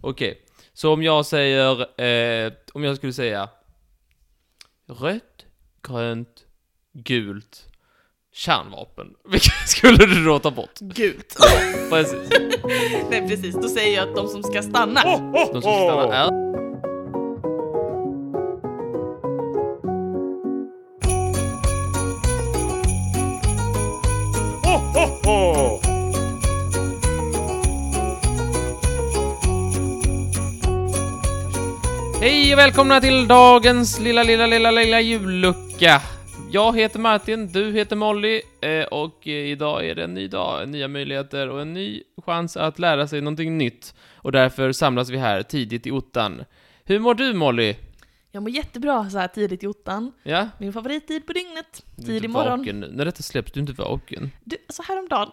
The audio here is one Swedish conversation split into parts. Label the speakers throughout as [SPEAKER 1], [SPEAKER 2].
[SPEAKER 1] Okej, så om jag säger, eh, om jag skulle säga rött, grönt, gult, kärnvapen. Vilket skulle du då ta bort?
[SPEAKER 2] Gult.
[SPEAKER 1] Precis.
[SPEAKER 2] Nej precis, då säger jag att de som ska stanna.
[SPEAKER 1] De som stannar är... Hej och välkomna till dagens lilla, lilla, lilla, lilla jullucka. Jag heter Martin, du heter Molly eh, och eh, idag är det en ny dag, nya möjligheter och en ny chans att lära sig någonting nytt. Och därför samlas vi här tidigt i ottan. Hur mår du Molly?
[SPEAKER 2] Jag mår jättebra så här tidigt i ottan.
[SPEAKER 1] Ja?
[SPEAKER 2] Min favorittid på dygnet.
[SPEAKER 1] Du är
[SPEAKER 2] Tidig
[SPEAKER 1] inte
[SPEAKER 2] morgon.
[SPEAKER 1] typ Vaken nu. När detta släpps, du är inte vaken.
[SPEAKER 2] Du, så häromdagen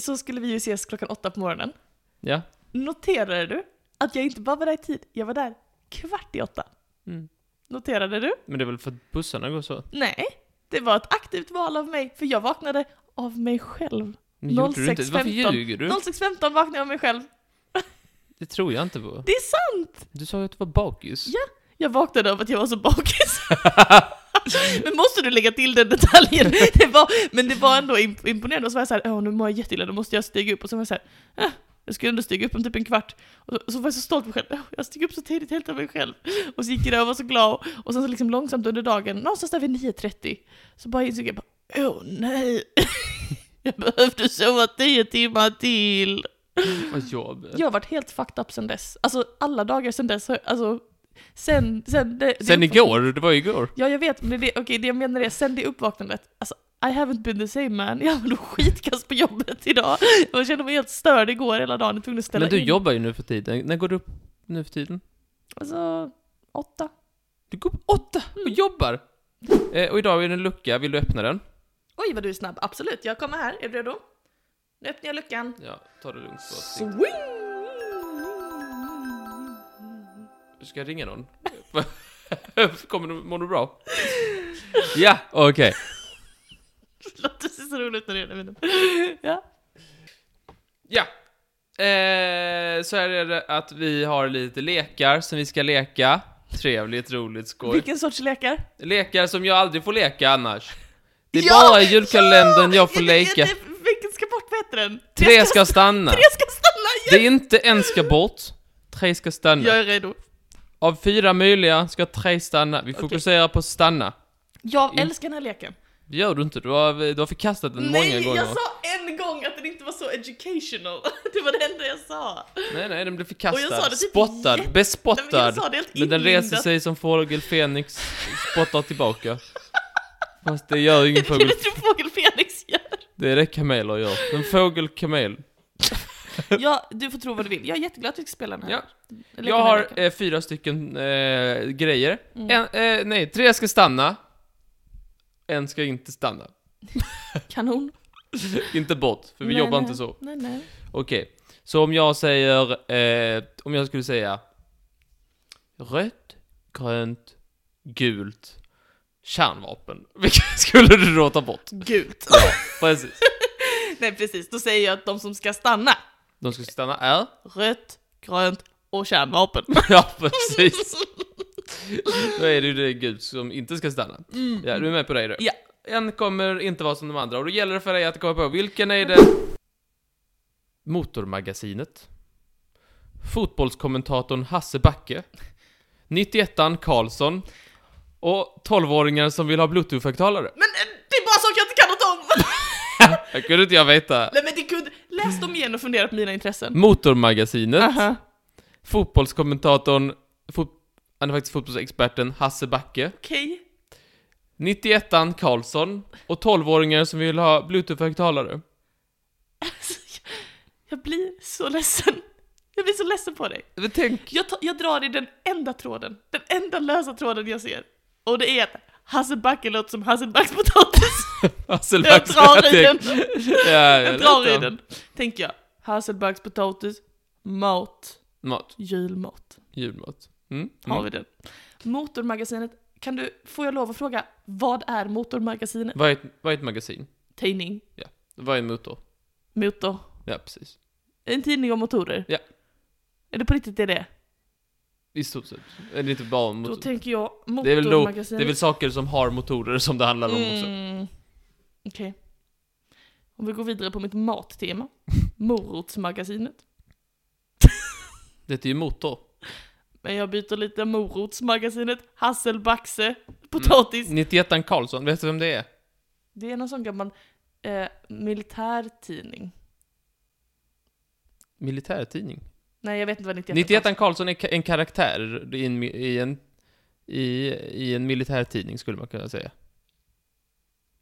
[SPEAKER 2] så skulle vi ju ses klockan åtta på morgonen.
[SPEAKER 1] Ja?
[SPEAKER 2] Noterade du att jag inte bara var där i tid, jag var där kvart i åtta?
[SPEAKER 1] Mm.
[SPEAKER 2] Noterade du?
[SPEAKER 1] Men det är väl för att bussarna går så?
[SPEAKER 2] Nej, det var ett aktivt val av mig, för jag vaknade av mig själv.
[SPEAKER 1] Men gjorde du inte. Varför
[SPEAKER 2] 06.15.
[SPEAKER 1] ljuger du?
[SPEAKER 2] 06.15 vaknade jag av mig själv.
[SPEAKER 1] Det tror jag inte på.
[SPEAKER 2] Det är sant!
[SPEAKER 1] Du sa ju att du var bakis.
[SPEAKER 2] Ja. Jag vaknade av att jag var så bakis. men måste du lägga till den detaljen? Det var, men det var ändå imp- imponerande, och så var jag såhär, åh nu mår jag jätteilla, då måste jag stiga upp, och så var jag såhär, äh, jag skulle ändå stiga upp om typ en kvart. Och så, så var jag så stolt på mig själv, "Åh, jag steg upp så tidigt helt av mig själv. Och så gick jag där och var så glad, och sen så liksom långsamt under dagen, någonstans där vid 9.30, så bara insåg jag, bara, åh nej, jag behövde sova 10 timmar till.
[SPEAKER 1] Vad jobbigt.
[SPEAKER 2] Jag har varit helt fucked up sen dess. Alltså alla dagar sen dess, har- alltså sen... Sen, det, det
[SPEAKER 1] Sen
[SPEAKER 2] upp-
[SPEAKER 1] igår, det var ju igår.
[SPEAKER 2] Ja jag vet, men det, okej det jag menar är sen det uppvaknandet, alltså I haven't been the same man, jag var skitkass på jobbet idag. Jag kände mig helt störd igår hela dagen, jag tvungen att ställa
[SPEAKER 1] Men du
[SPEAKER 2] in.
[SPEAKER 1] jobbar ju nu för tiden. När går du upp nu för tiden?
[SPEAKER 2] Alltså, åtta.
[SPEAKER 1] Du går upp åtta och
[SPEAKER 2] Mm.
[SPEAKER 1] jobbar! Eh, och idag är det en lucka, vill du öppna den?
[SPEAKER 2] Oj vad du är snabb, absolut, jag kommer här, är du redo? Nu öppnar jag luckan.
[SPEAKER 1] Ja, ta det lugnt. Så.
[SPEAKER 2] Swing!
[SPEAKER 1] Du ska jag ringa någon? Kommer du, mår du bra? Ja, okej.
[SPEAKER 2] Det låter så roligt när du gör det. men- Ja.
[SPEAKER 1] Ja. Eh, så här är det att vi har lite lekar som vi ska leka. Trevligt, roligt, skoj.
[SPEAKER 2] Vilken sorts lekar?
[SPEAKER 1] Lekar som jag aldrig får leka annars. Det är
[SPEAKER 2] Ja!
[SPEAKER 1] bara i julkalendern jag får
[SPEAKER 2] Ja, det-
[SPEAKER 1] leka.
[SPEAKER 2] det- Vilken ska bort, vad heter den?
[SPEAKER 1] Tre ska stanna.
[SPEAKER 2] Tre ska stanna!
[SPEAKER 1] Det är inte en ska bort, tre ska stanna.
[SPEAKER 2] Jag är redo.
[SPEAKER 1] Av fyra möjliga ska tre stanna. Vi fokuserar på stanna.
[SPEAKER 2] Jag
[SPEAKER 1] Mm.
[SPEAKER 2] älskar den här leken.
[SPEAKER 1] Det gör du inte, du har, du har förkastat den många
[SPEAKER 2] Nej,
[SPEAKER 1] gånger.
[SPEAKER 2] jag sa en gång att den inte var så educational. Det var det enda jag sa.
[SPEAKER 1] Nej, nej, den blev förkastad.
[SPEAKER 2] Och jag sa det typ
[SPEAKER 1] Spottad,
[SPEAKER 2] jätte- Nej, men
[SPEAKER 1] bespottad.
[SPEAKER 2] jag sa det helt
[SPEAKER 1] Men den reser
[SPEAKER 2] inlindat.
[SPEAKER 1] sig som fågel Fenix, spottar tillbaka. Fast det gör ingen
[SPEAKER 2] Det är
[SPEAKER 1] fågel,
[SPEAKER 2] det som fågel Felix gör.
[SPEAKER 1] det är det kameler gör. En fågel kamel.
[SPEAKER 2] Ja, du får tro vad du vill. Jag är jätteglad att vi ska spela den här.
[SPEAKER 1] Ja.
[SPEAKER 2] Leken
[SPEAKER 1] Jag
[SPEAKER 2] här
[SPEAKER 1] har
[SPEAKER 2] leken.
[SPEAKER 1] eh, fyra stycken eh, grejer.
[SPEAKER 2] Mm.
[SPEAKER 1] En, eh, nej, tre ska stanna. En ska inte stanna.
[SPEAKER 2] Kanon.
[SPEAKER 1] Inte bort, för vi
[SPEAKER 2] Nej,
[SPEAKER 1] jobbar
[SPEAKER 2] nej.
[SPEAKER 1] inte så.
[SPEAKER 2] Nej, nej.
[SPEAKER 1] Okej, så om jag säger, eh, om jag skulle säga rött, grönt, gult, kärnvapen. Vilket skulle du då ta bort?
[SPEAKER 2] Gult.
[SPEAKER 1] Precis.
[SPEAKER 2] Nej, precis. Då säger jag att de som ska stanna,
[SPEAKER 1] De ska stanna är.
[SPEAKER 2] rött, grönt och kärnvapen.
[SPEAKER 1] Ja, precis. Då är det ju det gult som inte ska stanna. Ja, du är med på det då?
[SPEAKER 2] Mm. Ja.
[SPEAKER 1] En kommer inte vara som de andra och då gäller det för dig att komma på vilken är det? Motormagasinet. Fotbollskommentatorn Hasse Backe. 91an Karlsson. Och 12-åringar som vill ha bluetooth-högtalare.
[SPEAKER 2] Men eh, det är bara saker jag inte kan något om!
[SPEAKER 1] Det kunde inte jag veta.
[SPEAKER 2] Nej men det kunde... Läs dem igen och fundera på mina intressen.
[SPEAKER 1] Motormagasinet.
[SPEAKER 2] Aha.
[SPEAKER 1] Fotbollskommentatorn, fot- han är faktiskt fotbollsexperten Hasse Backe.
[SPEAKER 2] Okej.
[SPEAKER 1] 91an Karlsson och 12-åringar som vill ha bluetooth-högtalare.
[SPEAKER 2] Alltså, jag, jag blir så ledsen. Jag blir så ledsen på dig.
[SPEAKER 1] Men tänk,
[SPEAKER 2] Jag, ta, jag drar i den enda tråden, den enda lösa tråden jag ser. Och det är att Hasse Backe låter som hasselbackspotatis.
[SPEAKER 1] Alltså,
[SPEAKER 2] Jag
[SPEAKER 1] Hasselbacks
[SPEAKER 2] drar i den,
[SPEAKER 1] Ja,
[SPEAKER 2] jag drar i den, tänker jag. Hasselbackspotatis, mat,
[SPEAKER 1] Mat,
[SPEAKER 2] julmat.
[SPEAKER 1] julmat. Mm.
[SPEAKER 2] Har
[SPEAKER 1] Mm.
[SPEAKER 2] vi den. Motormagasinet, kan du, får jag lov att fråga, vad är Motormagasinet?
[SPEAKER 1] Vad är ett, vad är ett magasin?
[SPEAKER 2] Tidning,
[SPEAKER 1] Vad är en motor?
[SPEAKER 2] motor,
[SPEAKER 1] Ja, precis.
[SPEAKER 2] en tidning om motorer.
[SPEAKER 1] Ja.
[SPEAKER 2] Är det på riktigt det är det?
[SPEAKER 1] I stort sett. Eller inte bara
[SPEAKER 2] Då
[SPEAKER 1] mot...
[SPEAKER 2] tänker jag
[SPEAKER 1] Det är väl då-
[SPEAKER 2] motormagasinet.
[SPEAKER 1] Det är väl saker som har motorer som det handlar om också.
[SPEAKER 2] Mm. Okej. Om vi går vidare på mitt mattema. Morotsmagasinet.
[SPEAKER 1] Det heter ju motor.
[SPEAKER 2] Men jag byter lite morotsmagasinet. Hasselbaxe.
[SPEAKER 1] Mm.
[SPEAKER 2] Potatis.
[SPEAKER 1] 91 Karlsson, vet du vem det är?
[SPEAKER 2] Det är någon sån gammal eh, militärtidning.
[SPEAKER 1] Militärtidning.
[SPEAKER 2] Nej, jag vet inte vad 91
[SPEAKER 1] 91 Karlsson är ka- en karaktär i en, mi- i en, i, i en militärtidning skulle man kunna säga.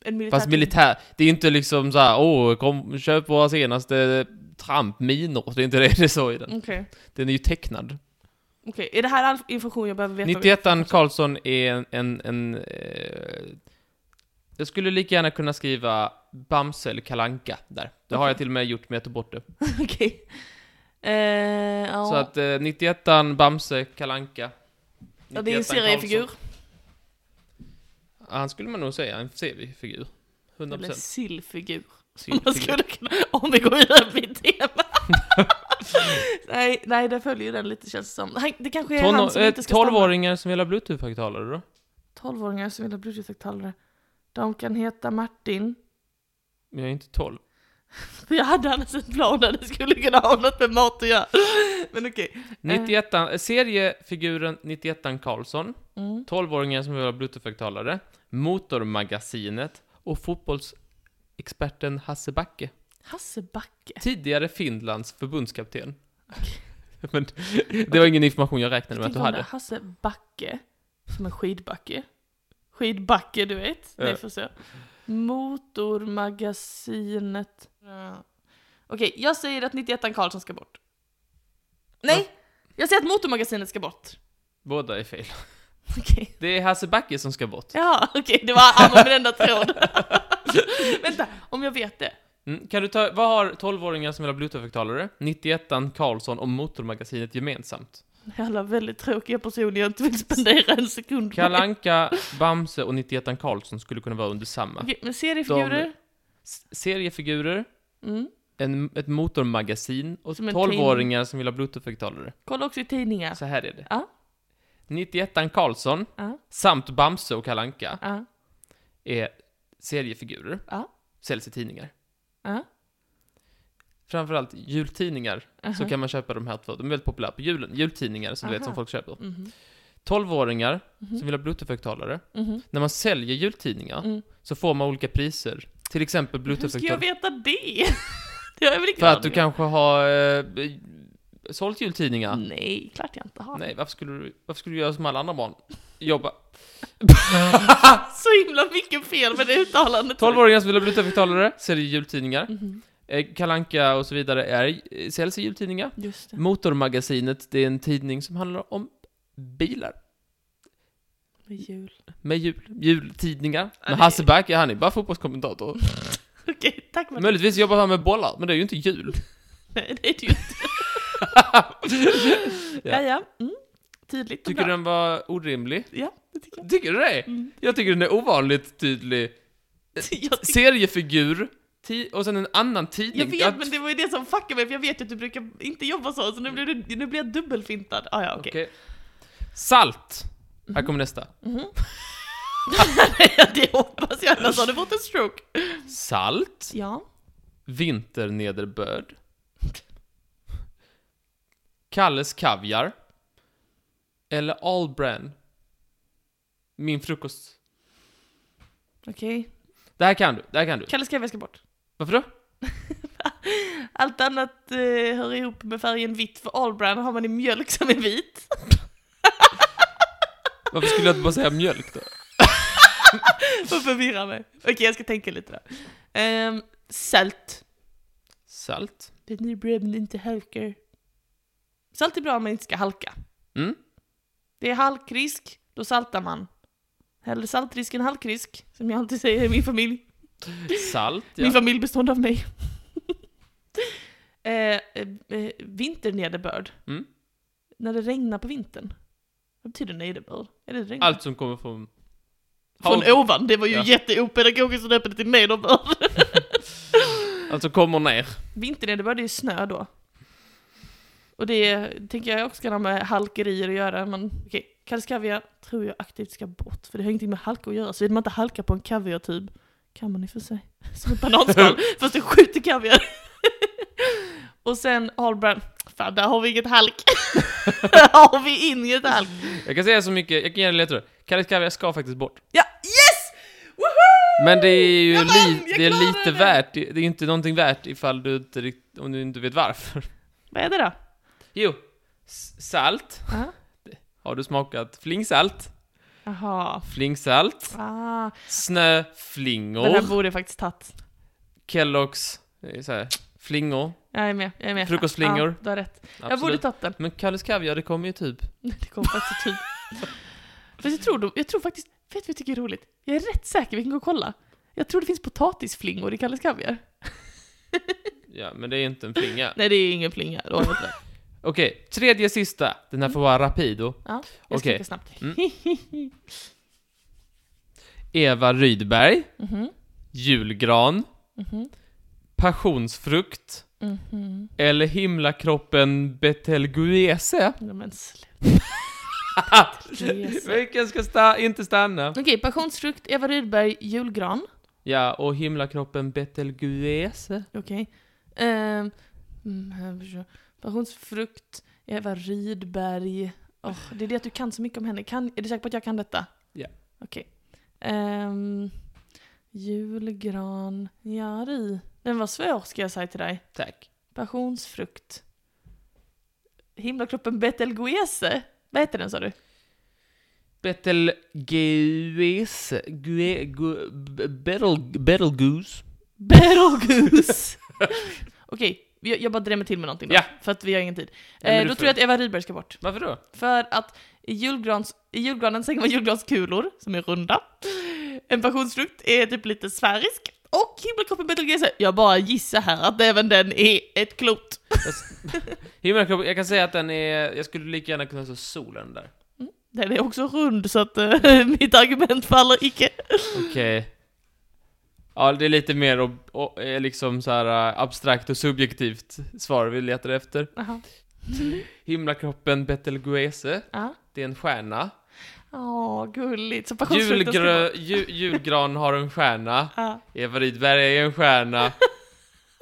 [SPEAKER 2] En militär
[SPEAKER 1] Fast militär, det är ju inte liksom så här, åh, kom, köp våra senaste trampminor. Det är inte det det står i den.
[SPEAKER 2] Okej. Okej,
[SPEAKER 1] Den är ju tecknad.
[SPEAKER 2] är det här all information jag behöver veta?
[SPEAKER 1] 91 Karlsson är en, en, en eh, jag skulle lika gärna kunna skriva Bamse eller Kalanka där. Det har jag till och med gjort, men jag tog bort det.
[SPEAKER 2] Okej. Eh, ja.
[SPEAKER 1] Så att eh, 91 Bamse, Kalanka.
[SPEAKER 2] ja, det är en
[SPEAKER 1] 91
[SPEAKER 2] seriefigur.
[SPEAKER 1] Karlsson. Han skulle man nog säga, en seriefigur. 100%.
[SPEAKER 2] Eller
[SPEAKER 1] procent.
[SPEAKER 2] sillfigur. Om man skulle kunna, om vi går vidare på mitt tema. nej, nej, där följer den lite känns det som. Han, det kanske är han som
[SPEAKER 1] eh,
[SPEAKER 2] inte ska stanna.
[SPEAKER 1] Tolvåringar som gillar bluetooth-högtalare då?
[SPEAKER 2] Tolvåringar som vill ha bluetooth-högtalare. De kan heta Martin.
[SPEAKER 1] Men jag är inte 12.
[SPEAKER 2] För jag hade annars en plan där det skulle kunna ha något med mat att göra. Men okej.
[SPEAKER 1] 91, eh, seriefiguren 91 Karlsson,
[SPEAKER 2] Mm.
[SPEAKER 1] 12-åringar som vill ha bluetooth-högtalare, Motormagasinet och fotbollsexperten Hasse Backe.
[SPEAKER 2] Hasse Backe.
[SPEAKER 1] Tidigare Finlands förbundskapten. Men det var ingen information jag räknade med att
[SPEAKER 2] Tänk
[SPEAKER 1] du
[SPEAKER 2] om det är
[SPEAKER 1] hade.
[SPEAKER 2] Hasse Backe, som en skidbacke. Skidbacke, du vet.
[SPEAKER 1] Ja.
[SPEAKER 2] Nej, får se. Motormagasinet. Ja. Okej, jag säger att 91 Karlsson ska bort. Nej! Jag säger att Motormagasinet ska bort.
[SPEAKER 1] Båda är fel.
[SPEAKER 2] Okej.
[SPEAKER 1] Det är Hasse Backe som ska bort.
[SPEAKER 2] Ja, okej, det var han med den där tråden. Vänta, om jag vet det.
[SPEAKER 1] Mm. Kan du ta, vad har 12-åringar som vill ha bluetooth-högtalare, 91 Karlsson och Motormagasinet gemensamt?
[SPEAKER 2] Alla väldigt tråkiga personer jag inte vill spendera en sekund med.
[SPEAKER 1] Kalanka, Bamse och 91 Karlsson skulle kunna vara under samma.
[SPEAKER 2] Okej, men seriefigurer.
[SPEAKER 1] S- seriefigurer,
[SPEAKER 2] Mm.
[SPEAKER 1] en, ett motormagasin och
[SPEAKER 2] Som en
[SPEAKER 1] 12-åringar som vill ha bluetooth-högtalare.
[SPEAKER 2] Kolla också i tidningar.
[SPEAKER 1] Så här är det.
[SPEAKER 2] Ja.
[SPEAKER 1] 91 Karlsson,
[SPEAKER 2] Ja,
[SPEAKER 1] samt Bamse och Kalanka
[SPEAKER 2] ja,
[SPEAKER 1] är seriefigurer.
[SPEAKER 2] Ja.
[SPEAKER 1] Säljs i tidningar.
[SPEAKER 2] ja.
[SPEAKER 1] Framförallt jultidningar, så
[SPEAKER 2] Aha.
[SPEAKER 1] kan man köpa de här två. De är väldigt populära på julen. Jultidningar, som du vet,
[SPEAKER 2] Uh-huh. Aha.
[SPEAKER 1] som folk köper.
[SPEAKER 2] Mhm.
[SPEAKER 1] 12-åringar
[SPEAKER 2] Mhm.
[SPEAKER 1] som vill ha bluetooth-högtalare.
[SPEAKER 2] Mhm.
[SPEAKER 1] När man säljer jultidningar
[SPEAKER 2] Mm.
[SPEAKER 1] så får man olika priser. Till exempel
[SPEAKER 2] Hur ska
[SPEAKER 1] bluetooth-högtalare.
[SPEAKER 2] jag veta det? Det har jag väl ingen
[SPEAKER 1] För att du
[SPEAKER 2] aning
[SPEAKER 1] kanske har eh, sålt jultidningar.
[SPEAKER 2] om. Nej, klart jag inte har.
[SPEAKER 1] Nej, varför skulle, du, varför skulle du göra som alla andra barn? Jobba.
[SPEAKER 2] Så himla mycket fel med det uttalandet.
[SPEAKER 1] 12-åringar som vill ha bluetooth-högtalare säljer jultidningar.
[SPEAKER 2] Mhm.
[SPEAKER 1] Eh, Kalanka och så vidare är, eh, säljs i jultidningar.
[SPEAKER 2] Just det.
[SPEAKER 1] Motormagasinet, det är en tidning som handlar om bilar.
[SPEAKER 2] Med jul.
[SPEAKER 1] Med jul, jultidningar.
[SPEAKER 2] Ja,
[SPEAKER 1] Men
[SPEAKER 2] det-
[SPEAKER 1] Hasse Back, ja, han är bara fotbollskommentator.
[SPEAKER 2] Okej, tack Martin.
[SPEAKER 1] Möjligtvis jobbar han med bollar, men det är ju inte jul.
[SPEAKER 2] Nej, det är det ju inte. ja, ja. Mm. Tydligt och
[SPEAKER 1] Tycker du
[SPEAKER 2] bra.
[SPEAKER 1] den var orimlig?
[SPEAKER 2] Ja, det tycker jag.
[SPEAKER 1] Tycker du det?
[SPEAKER 2] Mm.
[SPEAKER 1] Jag tycker den är ovanligt tydlig. Eh,
[SPEAKER 2] jag, tycker,
[SPEAKER 1] Seriefigur, ti- och sen en annan tidning.
[SPEAKER 2] jag
[SPEAKER 1] Ja,
[SPEAKER 2] vet, men det var ju det som fuckade mig, för jag vet ju att du brukar inte jobba så, så nu blir, du, nu blir jag dubbelfintad. Ah, ja, okej.
[SPEAKER 1] Okej. Salt! Här kommer nästa.
[SPEAKER 2] Mm-hmm. det hoppas jag, annars har du fått en stroke.
[SPEAKER 1] Salt,
[SPEAKER 2] Ja.
[SPEAKER 1] vinternederbörd, Kalles kaviar, eller Allbrand. Min frukost.
[SPEAKER 2] Okej.
[SPEAKER 1] Det här kan du, det här kan du.
[SPEAKER 2] Kalle skrev jag ska bort.
[SPEAKER 1] Varför då?
[SPEAKER 2] Allt annat eh, hör ihop med färgen vitt, för Allbrand har man i mjölk som är vit.
[SPEAKER 1] Varför skulle jag inte bara säga mjölk då?
[SPEAKER 2] Vad förvirrar mig. Okej, jag ska tänka lite där. Um, salt.
[SPEAKER 1] Salt.
[SPEAKER 2] Det är bröd men inte halkar. Salt är bra om man inte ska halka.
[SPEAKER 1] Mm.
[SPEAKER 2] Det är halkrisk, då saltar man. Hellre saltrisk än halkrisk, som jag alltid säger i min familj.
[SPEAKER 1] Salt,
[SPEAKER 2] Min
[SPEAKER 1] ja.
[SPEAKER 2] familj bestående av mig. eh, eh, eh, vinternederbörd.
[SPEAKER 1] Mm.
[SPEAKER 2] När det regnar på vintern. Vad betyder nederbörd? Är det regn?
[SPEAKER 1] Allt som kommer från...
[SPEAKER 2] Från
[SPEAKER 1] Hav-
[SPEAKER 2] ovan, det var ju
[SPEAKER 1] Ja.
[SPEAKER 2] jätteopedagogiskt att döpa det till nederbörd.
[SPEAKER 1] Allt som Alltså kommer ner.
[SPEAKER 2] Vinternederbörd är ju snö då. Och det tänker jag också kan ha med halkerier att göra, men okej. Kall kaviar tror jag aktivt ska bort, för det har ingenting med halka att göra. Så vill man inte halka på en kaviartub, kan man i och för sig. Som ett bananskal, fast det skjuter kaviar. och sen Hallbrand, fan där har vi inget halk. där har vi inget halk.
[SPEAKER 1] Jag kan säga så mycket, jag kan ge dig ledtrådar. Kallis kaviar ska faktiskt bort.
[SPEAKER 2] Ja, yes! Woho!
[SPEAKER 1] Men det är ju
[SPEAKER 2] Jag vann!
[SPEAKER 1] li-
[SPEAKER 2] Jag
[SPEAKER 1] det är
[SPEAKER 2] klarade
[SPEAKER 1] lite
[SPEAKER 2] det!
[SPEAKER 1] värt, det det är ju inte någonting värt ifall du inte, rikt- om du inte vet varför.
[SPEAKER 2] Vad är det då?
[SPEAKER 1] Jo, s- salt.
[SPEAKER 2] Aha.
[SPEAKER 1] Har du smakat flingsalt?
[SPEAKER 2] Jaha.
[SPEAKER 1] Flingsalt.
[SPEAKER 2] Ah, Den här
[SPEAKER 1] Snöflingor.
[SPEAKER 2] borde jag faktiskt tagit.
[SPEAKER 1] Kelloggs, eh, så här, flingor.
[SPEAKER 2] Jag är med, jag är med.
[SPEAKER 1] Frukostflingor.
[SPEAKER 2] Ja, du har rätt. Jag borde
[SPEAKER 1] Absolut.
[SPEAKER 2] tagit den.
[SPEAKER 1] Men Kalles kaviar, det kommer ju typ.
[SPEAKER 2] Det kom faktiskt typ. Fast jag tror, de- jag tror faktiskt, vet du vad jag tycker är roligt? Jag är rätt säker, vi kan gå och kolla. Jag tror det finns potatisflingor i Kalles Kaviar.
[SPEAKER 1] Ja, men det är ju inte en flinga.
[SPEAKER 2] Nej, det är ingen flinga. Då har jag inte det.
[SPEAKER 1] Okej, tredje sista. Den här får vara rapido.
[SPEAKER 2] Ja, jag ska
[SPEAKER 1] Okej.
[SPEAKER 2] okay. snabbt.
[SPEAKER 1] Mm. Eva Rydberg.
[SPEAKER 2] Mhm,
[SPEAKER 1] Julgran.
[SPEAKER 2] mhm,
[SPEAKER 1] Passionsfrukt.
[SPEAKER 2] mhm.
[SPEAKER 1] Eller himlakroppen Betelgeuse.
[SPEAKER 2] Nej, men sluta.
[SPEAKER 1] Vilken ska sta- inte stanna?
[SPEAKER 2] Okej, passionsfrukt, Eva Rydberg, julgran.
[SPEAKER 1] Ja, och himlakroppen Betelgeuse.
[SPEAKER 2] Okej. Ehm, mm, här försöker jag. passionsfrukt, Eva Rydberg. Åh, det är det att du kan så mycket om henne. Kan, är du säker på att jag kan detta?
[SPEAKER 1] Ja.
[SPEAKER 2] Okej. Ehm, julgran, Jari. Den var svår ska jag säga till dig.
[SPEAKER 1] Tack.
[SPEAKER 2] Passionsfrukt. Himlakroppen Betelgeuse. Vad heter den sa du?
[SPEAKER 1] Betelgeuse. Gue- gu- b- betel- Betelgeuse.
[SPEAKER 2] Betelgeuse! Okej, jag, jag bara drämmer till med någonting då.
[SPEAKER 1] Ja.
[SPEAKER 2] För att vi har ingen tid.
[SPEAKER 1] Ja, men
[SPEAKER 2] Eh,
[SPEAKER 1] du
[SPEAKER 2] då
[SPEAKER 1] får-
[SPEAKER 2] tror jag att Eva Rydberg ska bort.
[SPEAKER 1] Varför då?
[SPEAKER 2] För att i, julgrans, i julgranen slänger man julgranskulor som är runda. En passionsfrukt är typ lite sfärisk. Och himlakroppen Betelgeuse, jag bara gissar här att även den är ett klot.
[SPEAKER 1] Jag s- Himlakroppen, jag kan säga att den är... Jag skulle lika gärna kunna stå solen där.
[SPEAKER 2] Den är också rund så att eh, mitt argument faller icke.
[SPEAKER 1] Okej. Ja, det är lite mer ob- o- eh, liksom så här eh, abstrakt och subjektivt svar vi letar efter.
[SPEAKER 2] Aha.
[SPEAKER 1] Himlakroppen Betelgeuse,
[SPEAKER 2] Ja.
[SPEAKER 1] det är en stjärna.
[SPEAKER 2] Åh, gulligt. Så passionsfrukten ska vara...
[SPEAKER 1] Julgrö, ju, julgran har en stjärna.
[SPEAKER 2] Ja.
[SPEAKER 1] Eva Rydberg är en stjärna.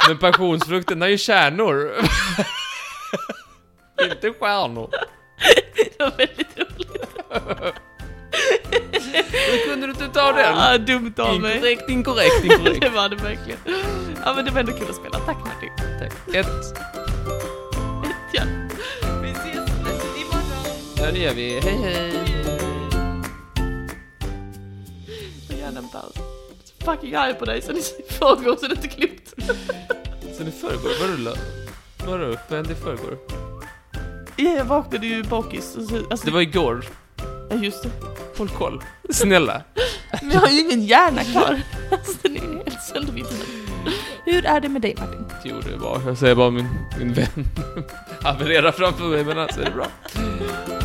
[SPEAKER 1] Men passionsfrukten har ju kärnor. Inte stjärnor.
[SPEAKER 2] Det var väldigt roligt.
[SPEAKER 1] Hur kunde du inte ta den?
[SPEAKER 2] Ah, dumt av mig.
[SPEAKER 1] Inkorrekt, inkorrekt, inkorrekt.
[SPEAKER 2] Det var det verkligen. Ja, men det var ändå kul att spela. Tack Martin.
[SPEAKER 1] Tack. Ett,
[SPEAKER 2] Ja. Vi ses nästa imorgon.
[SPEAKER 1] ja det gör vi. Hej hej.
[SPEAKER 2] Jag gärna en paus. Så Fucking arg på dig sen i förrgår så det är inte klokt.
[SPEAKER 1] Sen i förrgår, vad rullade? Vadå? Vad hände i förrgår?
[SPEAKER 2] Ja, jag vaknade ju bakis. och så- Alltså,
[SPEAKER 1] Det var igår.
[SPEAKER 2] Ja, just det.
[SPEAKER 1] Håll koll. Snälla.
[SPEAKER 2] Men jag har ju ingen hjärna kvar. Alltså den är ju helt söndervittrad. Hur är det med dig Martin?
[SPEAKER 1] Jo, det var. Jag säger bara min, min vän haverera framför mig, men alltså är det bra.